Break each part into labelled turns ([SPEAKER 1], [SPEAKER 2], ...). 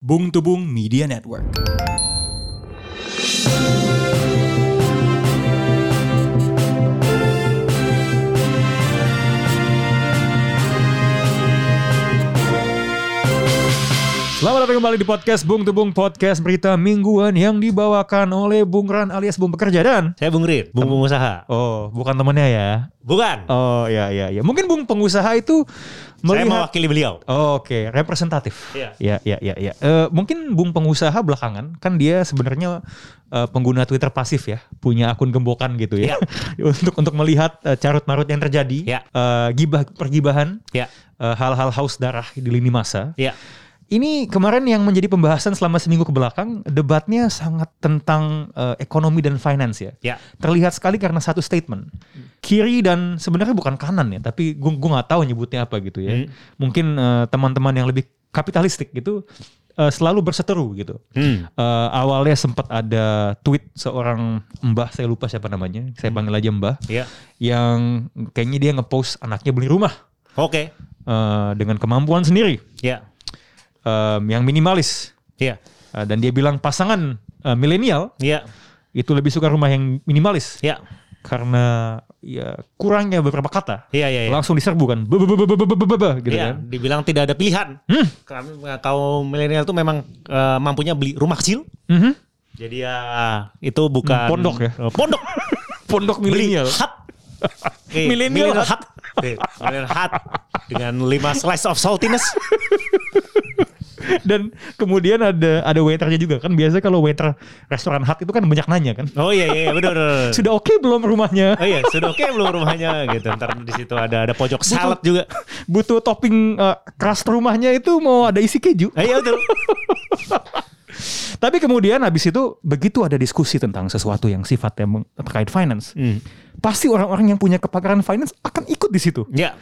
[SPEAKER 1] Bung Tubung Media Network. Selamat datang kembali di podcast Bung Tubung Podcast Berita Mingguan yang dibawakan oleh Bung Ran alias Bung Pekerja dan
[SPEAKER 2] Saya Bung Rit, Bung Pengusaha.
[SPEAKER 1] Oh, bukan temannya ya.
[SPEAKER 2] Bukan.
[SPEAKER 1] Oh, ya ya ya. Mungkin Bung pengusaha itu
[SPEAKER 2] Saya
[SPEAKER 1] melihat
[SPEAKER 2] mewakili beliau.
[SPEAKER 1] Oh, Oke, representatif.
[SPEAKER 2] Iya.
[SPEAKER 1] Ya, ya, ya, ya. Eh, mungkin Bung pengusaha belakangan kan dia sebenarnya eh, pengguna Twitter pasif ya, punya akun gembokan gitu ya, untuk untuk melihat eh, carut marut yang terjadi,
[SPEAKER 2] Iya.
[SPEAKER 1] eh, gibah pergibahan,
[SPEAKER 2] Ya.
[SPEAKER 1] eh, hal-hal haus darah di lini masa.
[SPEAKER 2] Ya.
[SPEAKER 1] Ini kemarin yang menjadi pembahasan selama seminggu ke belakang, debatnya sangat tentang eh, ekonomi dan finance ya.
[SPEAKER 2] Ya.
[SPEAKER 1] Terlihat sekali karena satu statement. Kiri dan sebenarnya bukan kanan ya, tapi gue gue nggak tahu nyebutnya apa gitu ya.
[SPEAKER 2] Hmm.
[SPEAKER 1] Mungkin eh, teman-teman yang lebih kapitalistik gitu eh, selalu berseteru gitu.
[SPEAKER 2] Hmm.
[SPEAKER 1] Eh, awalnya sempat ada tweet seorang mbah saya lupa siapa namanya, saya panggil aja mbah,
[SPEAKER 2] Ya.
[SPEAKER 1] yang kayaknya dia ngepost anaknya beli rumah
[SPEAKER 2] Oke.
[SPEAKER 1] eh, dengan kemampuan sendiri,
[SPEAKER 2] Ya.
[SPEAKER 1] em, yang minimalis.
[SPEAKER 2] Ya.
[SPEAKER 1] Eh, dan dia bilang pasangan eh, milenial
[SPEAKER 2] Ya.
[SPEAKER 1] itu lebih suka rumah yang minimalis
[SPEAKER 2] Ya.
[SPEAKER 1] karena ya kurangnya beberapa kata
[SPEAKER 2] Ya. Ya. ya.
[SPEAKER 1] langsung diserbu kan be- be- be- be- be- be- be- be- gitu
[SPEAKER 2] Iya,
[SPEAKER 1] kan
[SPEAKER 2] dibilang tidak ada pilihan.
[SPEAKER 1] Hmm.
[SPEAKER 2] Kami- Kaum milenial tuh memang eh, mampunya beli rumah kecil.
[SPEAKER 1] Mhm.
[SPEAKER 2] Jadi ya itu bukan
[SPEAKER 1] Pondok ya?
[SPEAKER 2] Eh, Pondok.
[SPEAKER 1] pondok
[SPEAKER 2] beli
[SPEAKER 1] milenial
[SPEAKER 2] hut. Oke,
[SPEAKER 1] Millennial hut.
[SPEAKER 2] millennial hut. Oke, millennial hut dengan 5 slice of saltiness.
[SPEAKER 1] dan kemudian ada ada waiternya juga kan biasanya kalau waiter restoran hut itu kan banyak nanya kan
[SPEAKER 2] Oh iya iya benar. benar.
[SPEAKER 1] sudah oke belum rumahnya
[SPEAKER 2] Oh iya, sudah oke belum rumahnya gitu. Ntar di situ ada ada pojok salad juga.
[SPEAKER 1] butuh topping eh, crust rumahnya itu mau ada isi keju
[SPEAKER 2] Ah, Iya betul.
[SPEAKER 1] tapi kemudian habis itu begitu ada diskusi tentang sesuatu yang sifatnya meng- terkait finance
[SPEAKER 2] Hmm.
[SPEAKER 1] pasti orang-orang yang punya kepakaran finance akan ikut di situ
[SPEAKER 2] Ya.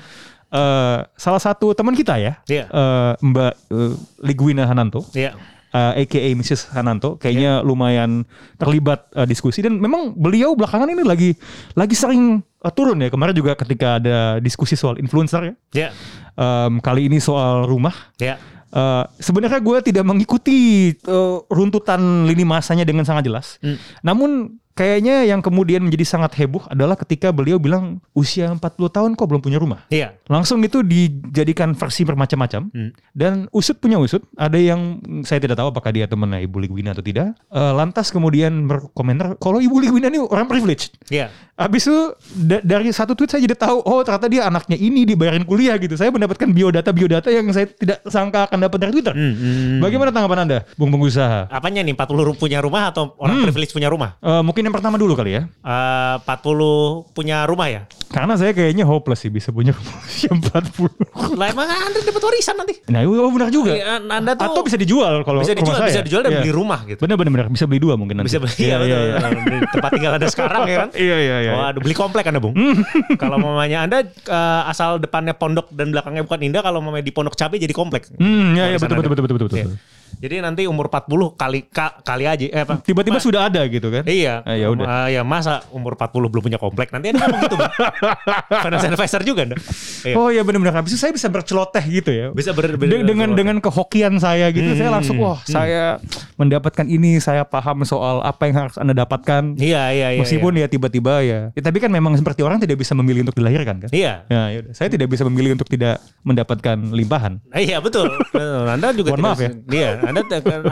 [SPEAKER 1] eh salah satu teman kita ya,
[SPEAKER 2] Iya.
[SPEAKER 1] eh, Mbak eh, Ligwina Hananto,
[SPEAKER 2] Ya.
[SPEAKER 1] eh, aka Mrs. Hananto, kayaknya lumayan terlibat eh, diskusi dan memang beliau belakangan ini lagi lagi sering eh, turun ya. Kemarin juga ketika ada diskusi soal influencer ya,
[SPEAKER 2] Ya.
[SPEAKER 1] Em, kali ini soal rumah.
[SPEAKER 2] Ya.
[SPEAKER 1] Eh, Sebenarnya gue tidak mengikuti eh, runtutan lini masanya dengan sangat jelas.
[SPEAKER 2] Hmm.
[SPEAKER 1] Namun kayaknya yang kemudian menjadi sangat heboh adalah ketika beliau bilang usia 40 tahun kok belum punya rumah.
[SPEAKER 2] Iya.
[SPEAKER 1] Langsung itu dijadikan versi bermacam-macam
[SPEAKER 2] Hmm.
[SPEAKER 1] dan usut punya usut. Ada yang mm, saya tidak tahu apakah dia temannya Ibu Ligwina atau tidak. Eh, lantas kemudian berkomentar kalau Ibu Ligwina ini orang privilege.
[SPEAKER 2] Iya.
[SPEAKER 1] Habis itu da- dari satu tweet saya jadi tahu oh ternyata dia anaknya ini dibayarin kuliah gitu. Saya mendapatkan biodata biodata yang saya tidak sangka akan dapat dari Twitter.
[SPEAKER 2] Hmm, hmm.
[SPEAKER 1] Bagaimana tanggapan Anda, Bung pengusaha?
[SPEAKER 2] Apanya nih 40 ru- punya rumah atau orang privilege punya rumah?
[SPEAKER 1] Eh, mungkin yang pertama dulu kali ya.
[SPEAKER 2] Eh 40 punya rumah ya?
[SPEAKER 1] Karena saya kayaknya hopeless sih bisa punya rumah usia 40.
[SPEAKER 2] Lah emang Anda dapat warisan nanti.
[SPEAKER 1] Nah, itu benar juga.
[SPEAKER 2] Iya, Anda tuh
[SPEAKER 1] Atau bisa dijual kalau
[SPEAKER 2] bisa dijual,
[SPEAKER 1] rumah saya.
[SPEAKER 2] bisa dijual dan
[SPEAKER 1] Iya.
[SPEAKER 2] beli rumah gitu.
[SPEAKER 1] Bener bener bener bisa beli dua mungkin nanti.
[SPEAKER 2] Bisa beli iya,
[SPEAKER 1] iya
[SPEAKER 2] betul. Beli tempat tinggal Anda sekarang ya kan?
[SPEAKER 1] Iya iya iya. Hmm.
[SPEAKER 2] Waduh, beli komplek Anda, Bung. kalau mamanya Anda eh, asal depannya pondok dan belakangnya bukan indah, kalau mamanya di pondok cabe jadi komplek.
[SPEAKER 1] Hmm, iya iya
[SPEAKER 2] Warisan
[SPEAKER 1] betul betul
[SPEAKER 2] Anda.
[SPEAKER 1] betul betul betul.
[SPEAKER 2] Iya.
[SPEAKER 1] betul.
[SPEAKER 2] Jadi nanti umur 40 kali ka- kali aja eh apa?
[SPEAKER 1] Tiba-tiba sudah ada gitu kan?
[SPEAKER 2] Iya.
[SPEAKER 1] Ah, ya udah.
[SPEAKER 2] Ah, ya masa umur 40 belum punya komplek. Nanti ada ngomong gitu. Bang. Financial advisor juga Anda. Iya.
[SPEAKER 1] Oh iya benar-benar habis itu saya bisa berceloteh gitu ya.
[SPEAKER 2] Bisa Hmm, ber, ber-
[SPEAKER 1] De- dengan
[SPEAKER 2] ber-
[SPEAKER 1] dengan kehokian saya gitu saya langsung wah saya mendapatkan ini saya paham soal apa yang harus Anda dapatkan.
[SPEAKER 2] Iya, iya, iya.
[SPEAKER 1] Meskipun ya tiba-tiba ya. ya. Tapi kan memang seperti orang tidak bisa memilih untuk dilahirkan kan?
[SPEAKER 2] iya.
[SPEAKER 1] Ya, yaudah. Saya tidak bisa memilih untuk tidak mendapatkan limpahan.
[SPEAKER 2] Nah, Iya betul. Betul. Anda juga
[SPEAKER 1] Mohon
[SPEAKER 2] tidak-
[SPEAKER 1] maaf ya.
[SPEAKER 2] Iya, Anda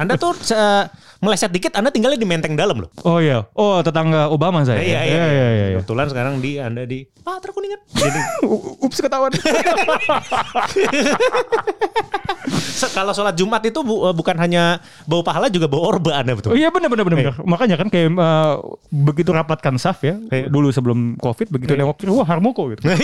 [SPEAKER 2] Anda tuh eh, meleset dikit Anda tinggalnya di Menteng dalam loh.
[SPEAKER 1] Oh iya. Oh, tetangga Obama saya.
[SPEAKER 2] Iya, iya.
[SPEAKER 1] iya. iya, iya.
[SPEAKER 2] Kebetulan sekarang di Anda di Patra Kuningan. Jadi
[SPEAKER 1] U- Ups ketahuan.
[SPEAKER 2] se- kalau sholat Jumat itu bu- eh, bukan hanya bau pahala juga bau orba Anda
[SPEAKER 1] Oh
[SPEAKER 2] betul.
[SPEAKER 1] iya benar benar benar. benar. Makanya kan kayak eh, begitu rapatkan saf ya
[SPEAKER 2] Eh.
[SPEAKER 1] dulu sebelum Covid begitu
[SPEAKER 2] Iya.
[SPEAKER 1] ada waktu wah harmoko
[SPEAKER 2] Nah,
[SPEAKER 1] gitu. ya,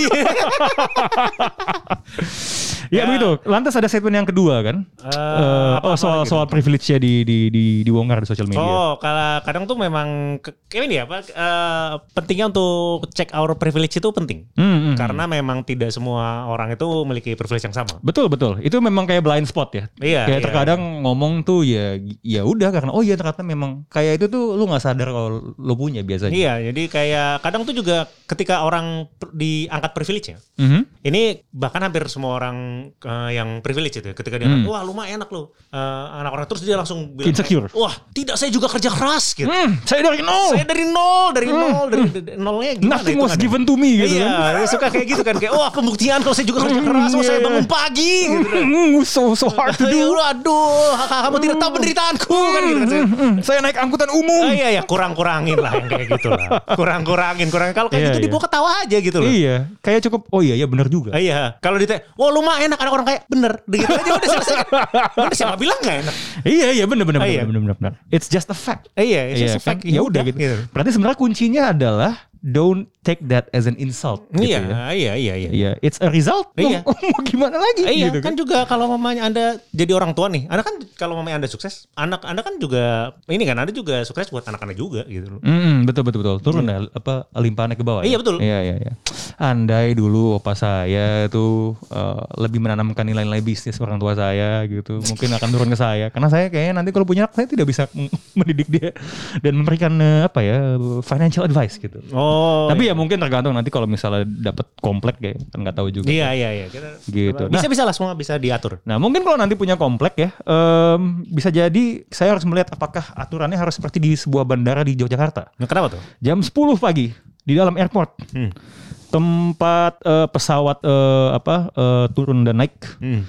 [SPEAKER 2] Ya.
[SPEAKER 1] begitu. Lantas ada statement yang kedua kan.
[SPEAKER 2] Eh,
[SPEAKER 1] Eh,
[SPEAKER 2] apa-apa
[SPEAKER 1] oh soal
[SPEAKER 2] gitu.
[SPEAKER 1] soal privilege-nya di di di dibongkar di sosial media.
[SPEAKER 2] Oh, kalau kadang tuh memang ke- kayak ini ya, Pak, eh, pentingnya untuk check our privilege itu penting.
[SPEAKER 1] Hmm, hmm.
[SPEAKER 2] Karena memang tidak semua orang itu
[SPEAKER 1] Iya.
[SPEAKER 2] memiliki privilege yang sama.
[SPEAKER 1] Betul betul. Itu memang kayak blind spot ya.
[SPEAKER 2] Iya,
[SPEAKER 1] Kayak
[SPEAKER 2] iya,
[SPEAKER 1] terkadang ngomong tuh ya ya ya udah karena oh iya ternyata memang kayak itu tuh lu nggak sadar kalau lu punya biasanya.
[SPEAKER 2] Iya, jadi kayak kadang tuh juga ketika orang per- diangkat privilege ya.
[SPEAKER 1] Mhm.
[SPEAKER 2] Ini bahkan hampir semua orang eh, yang privilege itu ya, ketika dia
[SPEAKER 1] Hmm.
[SPEAKER 2] wah lu mah enak lu. Eh, anak orang terus dia langsung bilang
[SPEAKER 1] Insecure.
[SPEAKER 2] wah, tidak saya juga kerja keras gitu.
[SPEAKER 1] Hmm, saya dari nol.
[SPEAKER 2] Saya dari nol, dari
[SPEAKER 1] Hmm.
[SPEAKER 2] nol, dari, dari nolnya gimana
[SPEAKER 1] Nothing
[SPEAKER 2] itu
[SPEAKER 1] was
[SPEAKER 2] kan ya?
[SPEAKER 1] given to me gitu
[SPEAKER 2] iya,
[SPEAKER 1] kan.
[SPEAKER 2] dia suka kayak gitu kan kayak wah pembuktian kalau saya juga kerja keras, oh, saya
[SPEAKER 1] iya.
[SPEAKER 2] bangun pagi gitu. kan.
[SPEAKER 1] Hmm, so so hard to
[SPEAKER 2] Aduh,
[SPEAKER 1] do.
[SPEAKER 2] aduh, kamu tidak tahu penderitaanku kan gitu kan. Saya-
[SPEAKER 1] Hmm, saya naik angkutan umum.
[SPEAKER 2] Ah, iya ya kurang-kurangin lah yang kayak gitu lah. Kurang-kurangin, kurang. Kalau kayak
[SPEAKER 1] Iya,
[SPEAKER 2] gitu
[SPEAKER 1] iya.
[SPEAKER 2] dibawa ketawa aja gitu loh.
[SPEAKER 1] Iya, kayak cukup. Oh iya, ya benar juga.
[SPEAKER 2] Ah, Iya, kalau ditanya, wah lu mah enak anak orang kayak bener, begitu aja udah selesai. Mana siapa bilang gak enak?
[SPEAKER 1] Iya, iya benar benar
[SPEAKER 2] Ah, iya.
[SPEAKER 1] benar benar benar. It's just a fact.
[SPEAKER 2] Ah, Iya, it's
[SPEAKER 1] Iya,
[SPEAKER 2] just a
[SPEAKER 1] kan?
[SPEAKER 2] fact.
[SPEAKER 1] Ya udah gitu. Berarti sebenarnya kuncinya adalah don't take that as an insult. gitu
[SPEAKER 2] Iya,
[SPEAKER 1] ya.
[SPEAKER 2] iya, iya, iya.
[SPEAKER 1] Iya, it's a result. Mau-
[SPEAKER 2] Iya.
[SPEAKER 1] Mau, gimana lagi?
[SPEAKER 2] Eh, Iya
[SPEAKER 1] gitu
[SPEAKER 2] kan juga kalau mamanya anda jadi orang tua nih, anda kan kalau mamanya anda sukses, anak anda kan juga ini kan anda juga sukses buat anak anda juga gitu loh.
[SPEAKER 1] Mm, betul betul betul turun ya apa limpahannya ke bawah. ya?
[SPEAKER 2] Iya, betul.
[SPEAKER 1] Iya iya iya. Andai dulu opa saya tuh eh, lebih menanamkan nilai-nilai bisnis orang tua saya gitu, mungkin akan turun ke saya. Karena saya kayaknya nanti kalau punya anak saya tidak bisa m- mendidik dia dan memberikan eh, apa ya financial advice gitu.
[SPEAKER 2] Oh,
[SPEAKER 1] Tapi ya mungkin tergantung nanti kalau misalnya dapat komplek kayak kan nggak tahu juga.
[SPEAKER 2] iya, iya, iya. Kita-
[SPEAKER 1] Gitu. Nah,
[SPEAKER 2] Bisa bisa lah semua bisa diatur.
[SPEAKER 1] Nah mungkin kalau nanti punya komplek ya, em, bisa jadi saya harus melihat apakah aturannya harus seperti di sebuah bandara di Yogyakarta.
[SPEAKER 2] Nah, kenapa tuh?
[SPEAKER 1] Jam 10 pagi di dalam airport,
[SPEAKER 2] Hmm.
[SPEAKER 1] tempat eh, pesawat eh, apa eh, turun dan naik
[SPEAKER 2] Hmm.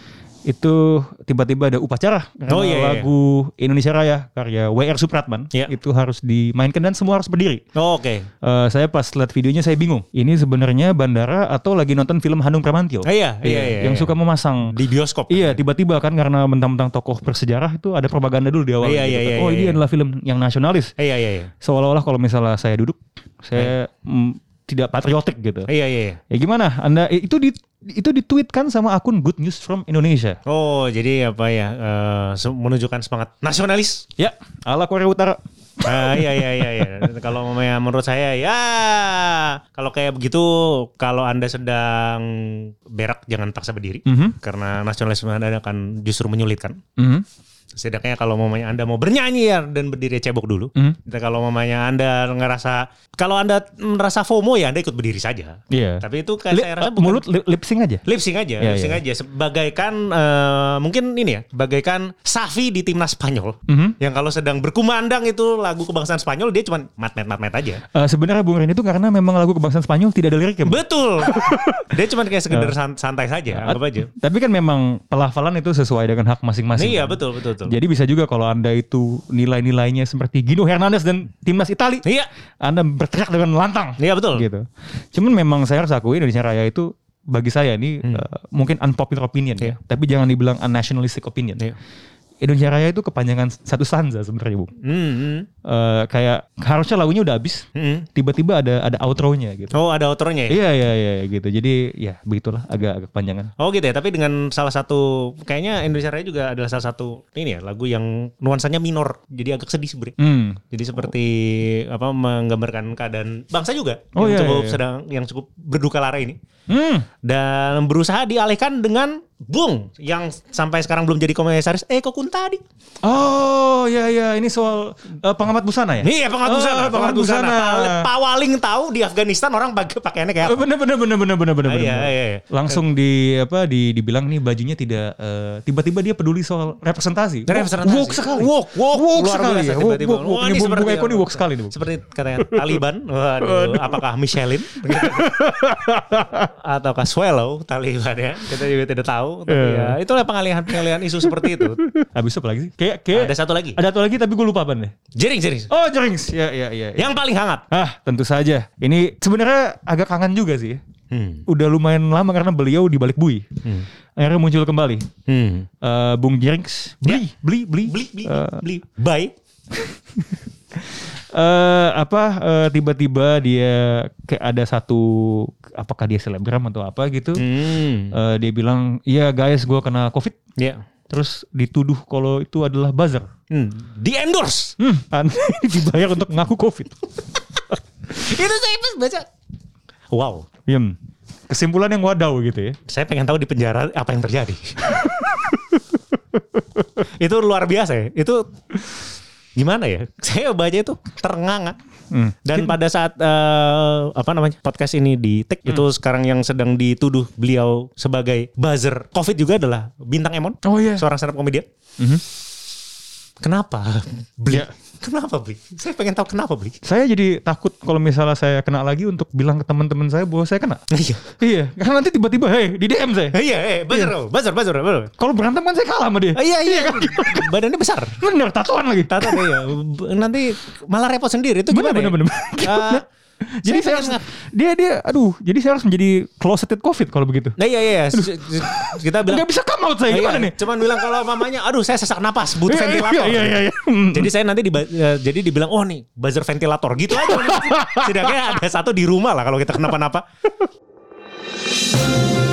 [SPEAKER 1] itu tiba-tiba ada upacara karena
[SPEAKER 2] Oh, iya, iya.
[SPEAKER 1] lagu Indonesia Raya karya WR Supratman
[SPEAKER 2] Iya.
[SPEAKER 1] itu harus dimainkan dan semua harus berdiri.
[SPEAKER 2] Oh, Oke.
[SPEAKER 1] Eh, saya pas lihat videonya saya bingung. Ini sebenarnya bandara atau lagi nonton film Hanung Bramantyo?
[SPEAKER 2] Ah, iya, iya, iya,
[SPEAKER 1] yang
[SPEAKER 2] iya.
[SPEAKER 1] suka memasang
[SPEAKER 2] Di bioskop.
[SPEAKER 1] Iya, tiba-tiba kan karena mentang-mentang tokoh bersejarah itu ada propaganda dulu di awal.
[SPEAKER 2] Iya,
[SPEAKER 1] gitu
[SPEAKER 2] iya,
[SPEAKER 1] kan.
[SPEAKER 2] iya,
[SPEAKER 1] oh
[SPEAKER 2] iya,
[SPEAKER 1] ini
[SPEAKER 2] iya.
[SPEAKER 1] adalah film yang nasionalis.
[SPEAKER 2] Iya, iya, iya.
[SPEAKER 1] Seolah-olah kalau misalnya saya duduk, saya mm, tidak patriotik gitu.
[SPEAKER 2] Iya, iya, iya.
[SPEAKER 1] Ya gimana? Anda eh, itu di itu ditweetkan sama akun Good News from Indonesia.
[SPEAKER 2] Oh, jadi apa ya? eh, se- menunjukkan semangat nasionalis.
[SPEAKER 1] Ya, ala Korea Utara.
[SPEAKER 2] Ah, iya iya iya. iya. Kalau memang menurut saya ya kalau kayak begitu kalau anda sedang berak jangan paksa berdiri
[SPEAKER 1] Mhm.
[SPEAKER 2] karena nasionalisme anda akan justru menyulitkan.
[SPEAKER 1] Mhm.
[SPEAKER 2] Setidaknya kalau mamanya anda mau bernyanyi ya dan berdiri ya cebok dulu.
[SPEAKER 1] Mhm.
[SPEAKER 2] Dan kalau mamanya anda ngerasa kalau anda merasa FOMO ya anda ikut berdiri saja.
[SPEAKER 1] Iya.
[SPEAKER 2] Tapi itu kayak
[SPEAKER 1] Li-
[SPEAKER 2] Kan saya rasa
[SPEAKER 1] eh,
[SPEAKER 2] bukan
[SPEAKER 1] mulut li- lip sync aja.
[SPEAKER 2] Lip sync aja,
[SPEAKER 1] Iya,
[SPEAKER 2] lip sync
[SPEAKER 1] iya.
[SPEAKER 2] aja. Sebagaikan eh, mungkin ini ya, bagaikan Safi di timnas Spanyol.
[SPEAKER 1] Mhm.
[SPEAKER 2] Yang kalau sedang berkumandang itu lagu kebangsaan Spanyol dia cuman matmet matmet aja.
[SPEAKER 1] Eh, sebenarnya Bung Rini itu karena memang lagu kebangsaan Spanyol tidak ada liriknya. Bung.
[SPEAKER 2] Betul. dia cuman kayak sekedar
[SPEAKER 1] Iya.
[SPEAKER 2] san- santai saja, anggap aja.
[SPEAKER 1] Tapi kan memang pelafalan itu sesuai dengan hak masing-masing.
[SPEAKER 2] Iya,
[SPEAKER 1] kan?
[SPEAKER 2] betul betul betul.
[SPEAKER 1] Jadi bisa juga kalau Anda itu nilai-nilainya seperti Gino Hernandez dan timnas Itali.
[SPEAKER 2] Iya.
[SPEAKER 1] Anda berteriak dengan lantang.
[SPEAKER 2] Iya betul.
[SPEAKER 1] Gitu. Cuman memang saya harus akui Indonesia Raya itu bagi saya ini
[SPEAKER 2] Hmm.
[SPEAKER 1] eh, mungkin unpopular opinion ya, tapi jangan dibilang unnationalistic opinion.
[SPEAKER 2] Iya.
[SPEAKER 1] Indonesia Raya itu kepanjangan satu sanza sebenarnya, Bu.
[SPEAKER 2] Hmm, hmm,
[SPEAKER 1] Eh, kayak harusnya lagunya udah habis,
[SPEAKER 2] hmm.
[SPEAKER 1] tiba-tiba ada ada outro-nya gitu.
[SPEAKER 2] Oh, ada otornya ya?
[SPEAKER 1] Iya iya iya gitu. Jadi ya begitulah agak agak panjangan.
[SPEAKER 2] Oh gitu ya, tapi dengan salah satu kayaknya Indonesia Raya juga adalah salah satu ini ya lagu yang nuansanya minor, jadi agak sedih sebenarnya.
[SPEAKER 1] Hmm.
[SPEAKER 2] Jadi seperti apa menggambarkan keadaan bangsa juga
[SPEAKER 1] Oh,
[SPEAKER 2] yang
[SPEAKER 1] iya,
[SPEAKER 2] cukup
[SPEAKER 1] iya, iya.
[SPEAKER 2] sedang yang cukup berduka lara ini
[SPEAKER 1] Hmm.
[SPEAKER 2] dan berusaha dialihkan dengan Bung yang sampai sekarang belum jadi komisaris Eko Kuntadi.
[SPEAKER 1] Oh ya ya ini soal eh, pengamat busana ya?
[SPEAKER 2] Iya pengamat
[SPEAKER 1] Oh,
[SPEAKER 2] busana, pengamat
[SPEAKER 1] pengamat
[SPEAKER 2] busana.
[SPEAKER 1] busana.
[SPEAKER 2] Pal- Pawaling tahu di Afghanistan orang pakai pakaiannya kayak
[SPEAKER 1] Eh,
[SPEAKER 2] apa?
[SPEAKER 1] Bener bener bener bener bener bener.
[SPEAKER 2] Ah, iya,
[SPEAKER 1] bener.
[SPEAKER 2] iya, iya.
[SPEAKER 1] Langsung di apa di dibilang nih bajunya tidak eh, tiba-tiba dia peduli soal representasi.
[SPEAKER 2] Representasi.
[SPEAKER 1] Woke sekali.
[SPEAKER 2] Woke, woke,
[SPEAKER 1] Woke
[SPEAKER 2] luar
[SPEAKER 1] sekali.
[SPEAKER 2] biasa
[SPEAKER 1] ya. Woke,
[SPEAKER 2] tiba-tiba.
[SPEAKER 1] woke, woke. Ini
[SPEAKER 2] Wah, ini
[SPEAKER 1] Bung- Bung
[SPEAKER 2] seperti-
[SPEAKER 1] Eko ini woke sekali nih. Bung.
[SPEAKER 2] Seperti katanya Taliban, waduh, apakah Michelin ataukah Swallow Taliban ya? Kita juga tidak tahu. Tapi
[SPEAKER 1] Iya.
[SPEAKER 2] ya, itulah pengalihan-pengalihan isu seperti itu.
[SPEAKER 1] Habis itu apa lagi sih? Kayak kayak
[SPEAKER 2] Ada satu lagi.
[SPEAKER 1] ada satu lagi tapi gue lupa apa nih.
[SPEAKER 2] Jering, jering.
[SPEAKER 1] Iya. Oh, jerings. Ya ya ya. ya.
[SPEAKER 2] Yang paling hangat.
[SPEAKER 1] Ah, tentu saja. Ini sebenarnya agak kangen juga sih.
[SPEAKER 2] Hmm.
[SPEAKER 1] Udah lumayan lama karena beliau di balik bui. Akhirnya muncul kembali.
[SPEAKER 2] Hmm.
[SPEAKER 1] Eh, Bung Jerings beli, beli, beli,
[SPEAKER 2] Ya. Beli, beli,
[SPEAKER 1] Eh,
[SPEAKER 2] beli. Bye.
[SPEAKER 1] eh apa eh, tiba-tiba dia kayak ada satu apakah dia selebgram atau apa gitu
[SPEAKER 2] Hmm.
[SPEAKER 1] Eh, dia bilang iya guys gua kena covid
[SPEAKER 2] Ya.
[SPEAKER 1] terus dituduh kalau itu adalah buzzer
[SPEAKER 2] Hmm. Di endorse.
[SPEAKER 1] hmm, Anda dibayar untuk mengaku covid
[SPEAKER 2] itu saya pas baca. Wow.
[SPEAKER 1] Hmm. kesimpulan yang wadaw gitu ya
[SPEAKER 2] Saya pengen tahu di penjara apa yang terjadi. itu luar biasa ya. Itu gimana ya? Saya baca itu ternganga.
[SPEAKER 1] Hmm.
[SPEAKER 2] Dan pada saat eh, apa namanya podcast ini di take itu sekarang yang sedang dituduh beliau sebagai buzzer COVID juga adalah bintang Emon,
[SPEAKER 1] Oh iya.
[SPEAKER 2] seorang stand up komedian.
[SPEAKER 1] Mhm.
[SPEAKER 2] Kenapa beli?
[SPEAKER 1] Ya.
[SPEAKER 2] Kenapa beli? Saya pengen tahu kenapa beli.
[SPEAKER 1] Saya jadi takut kalau misalnya saya kena lagi untuk bilang ke teman-teman saya bahwa saya kena.
[SPEAKER 2] Iya,
[SPEAKER 1] Iya, karena nanti tiba-tiba hey, di DM saya.
[SPEAKER 2] iya, eh, buzzer, oh, buzzer, buzzer, buzzer.
[SPEAKER 1] Kalau berantem kan saya kalah sama dia.
[SPEAKER 2] Ah, Iya, iya, badannya besar.
[SPEAKER 1] Bener, tatoan lagi.
[SPEAKER 2] Tata iya. B- Nanti malah repot sendiri itu
[SPEAKER 1] Bener,
[SPEAKER 2] gimana?
[SPEAKER 1] bener,
[SPEAKER 2] ya?
[SPEAKER 1] bener. Gimana?
[SPEAKER 2] Eh,
[SPEAKER 1] jadi saya, harus,
[SPEAKER 2] pengen-
[SPEAKER 1] dia dia aduh, jadi saya harus menjadi closeted covid kalau begitu.
[SPEAKER 2] Nah, iya, iya, S- s- kita bilang
[SPEAKER 1] Gak bisa come out saya
[SPEAKER 2] Iya,
[SPEAKER 1] gimana nih?
[SPEAKER 2] Cuman bilang kalau mamanya, aduh saya sesak napas, butuh
[SPEAKER 1] Iya,
[SPEAKER 2] ventilator.
[SPEAKER 1] Iya, iya, iya. iya. Hmm.
[SPEAKER 2] Jadi saya nanti diba- eh, jadi dibilang, oh nih buzzer ventilator gitu aja. Setidaknya ada satu di rumah lah kalau kita kenapa-napa.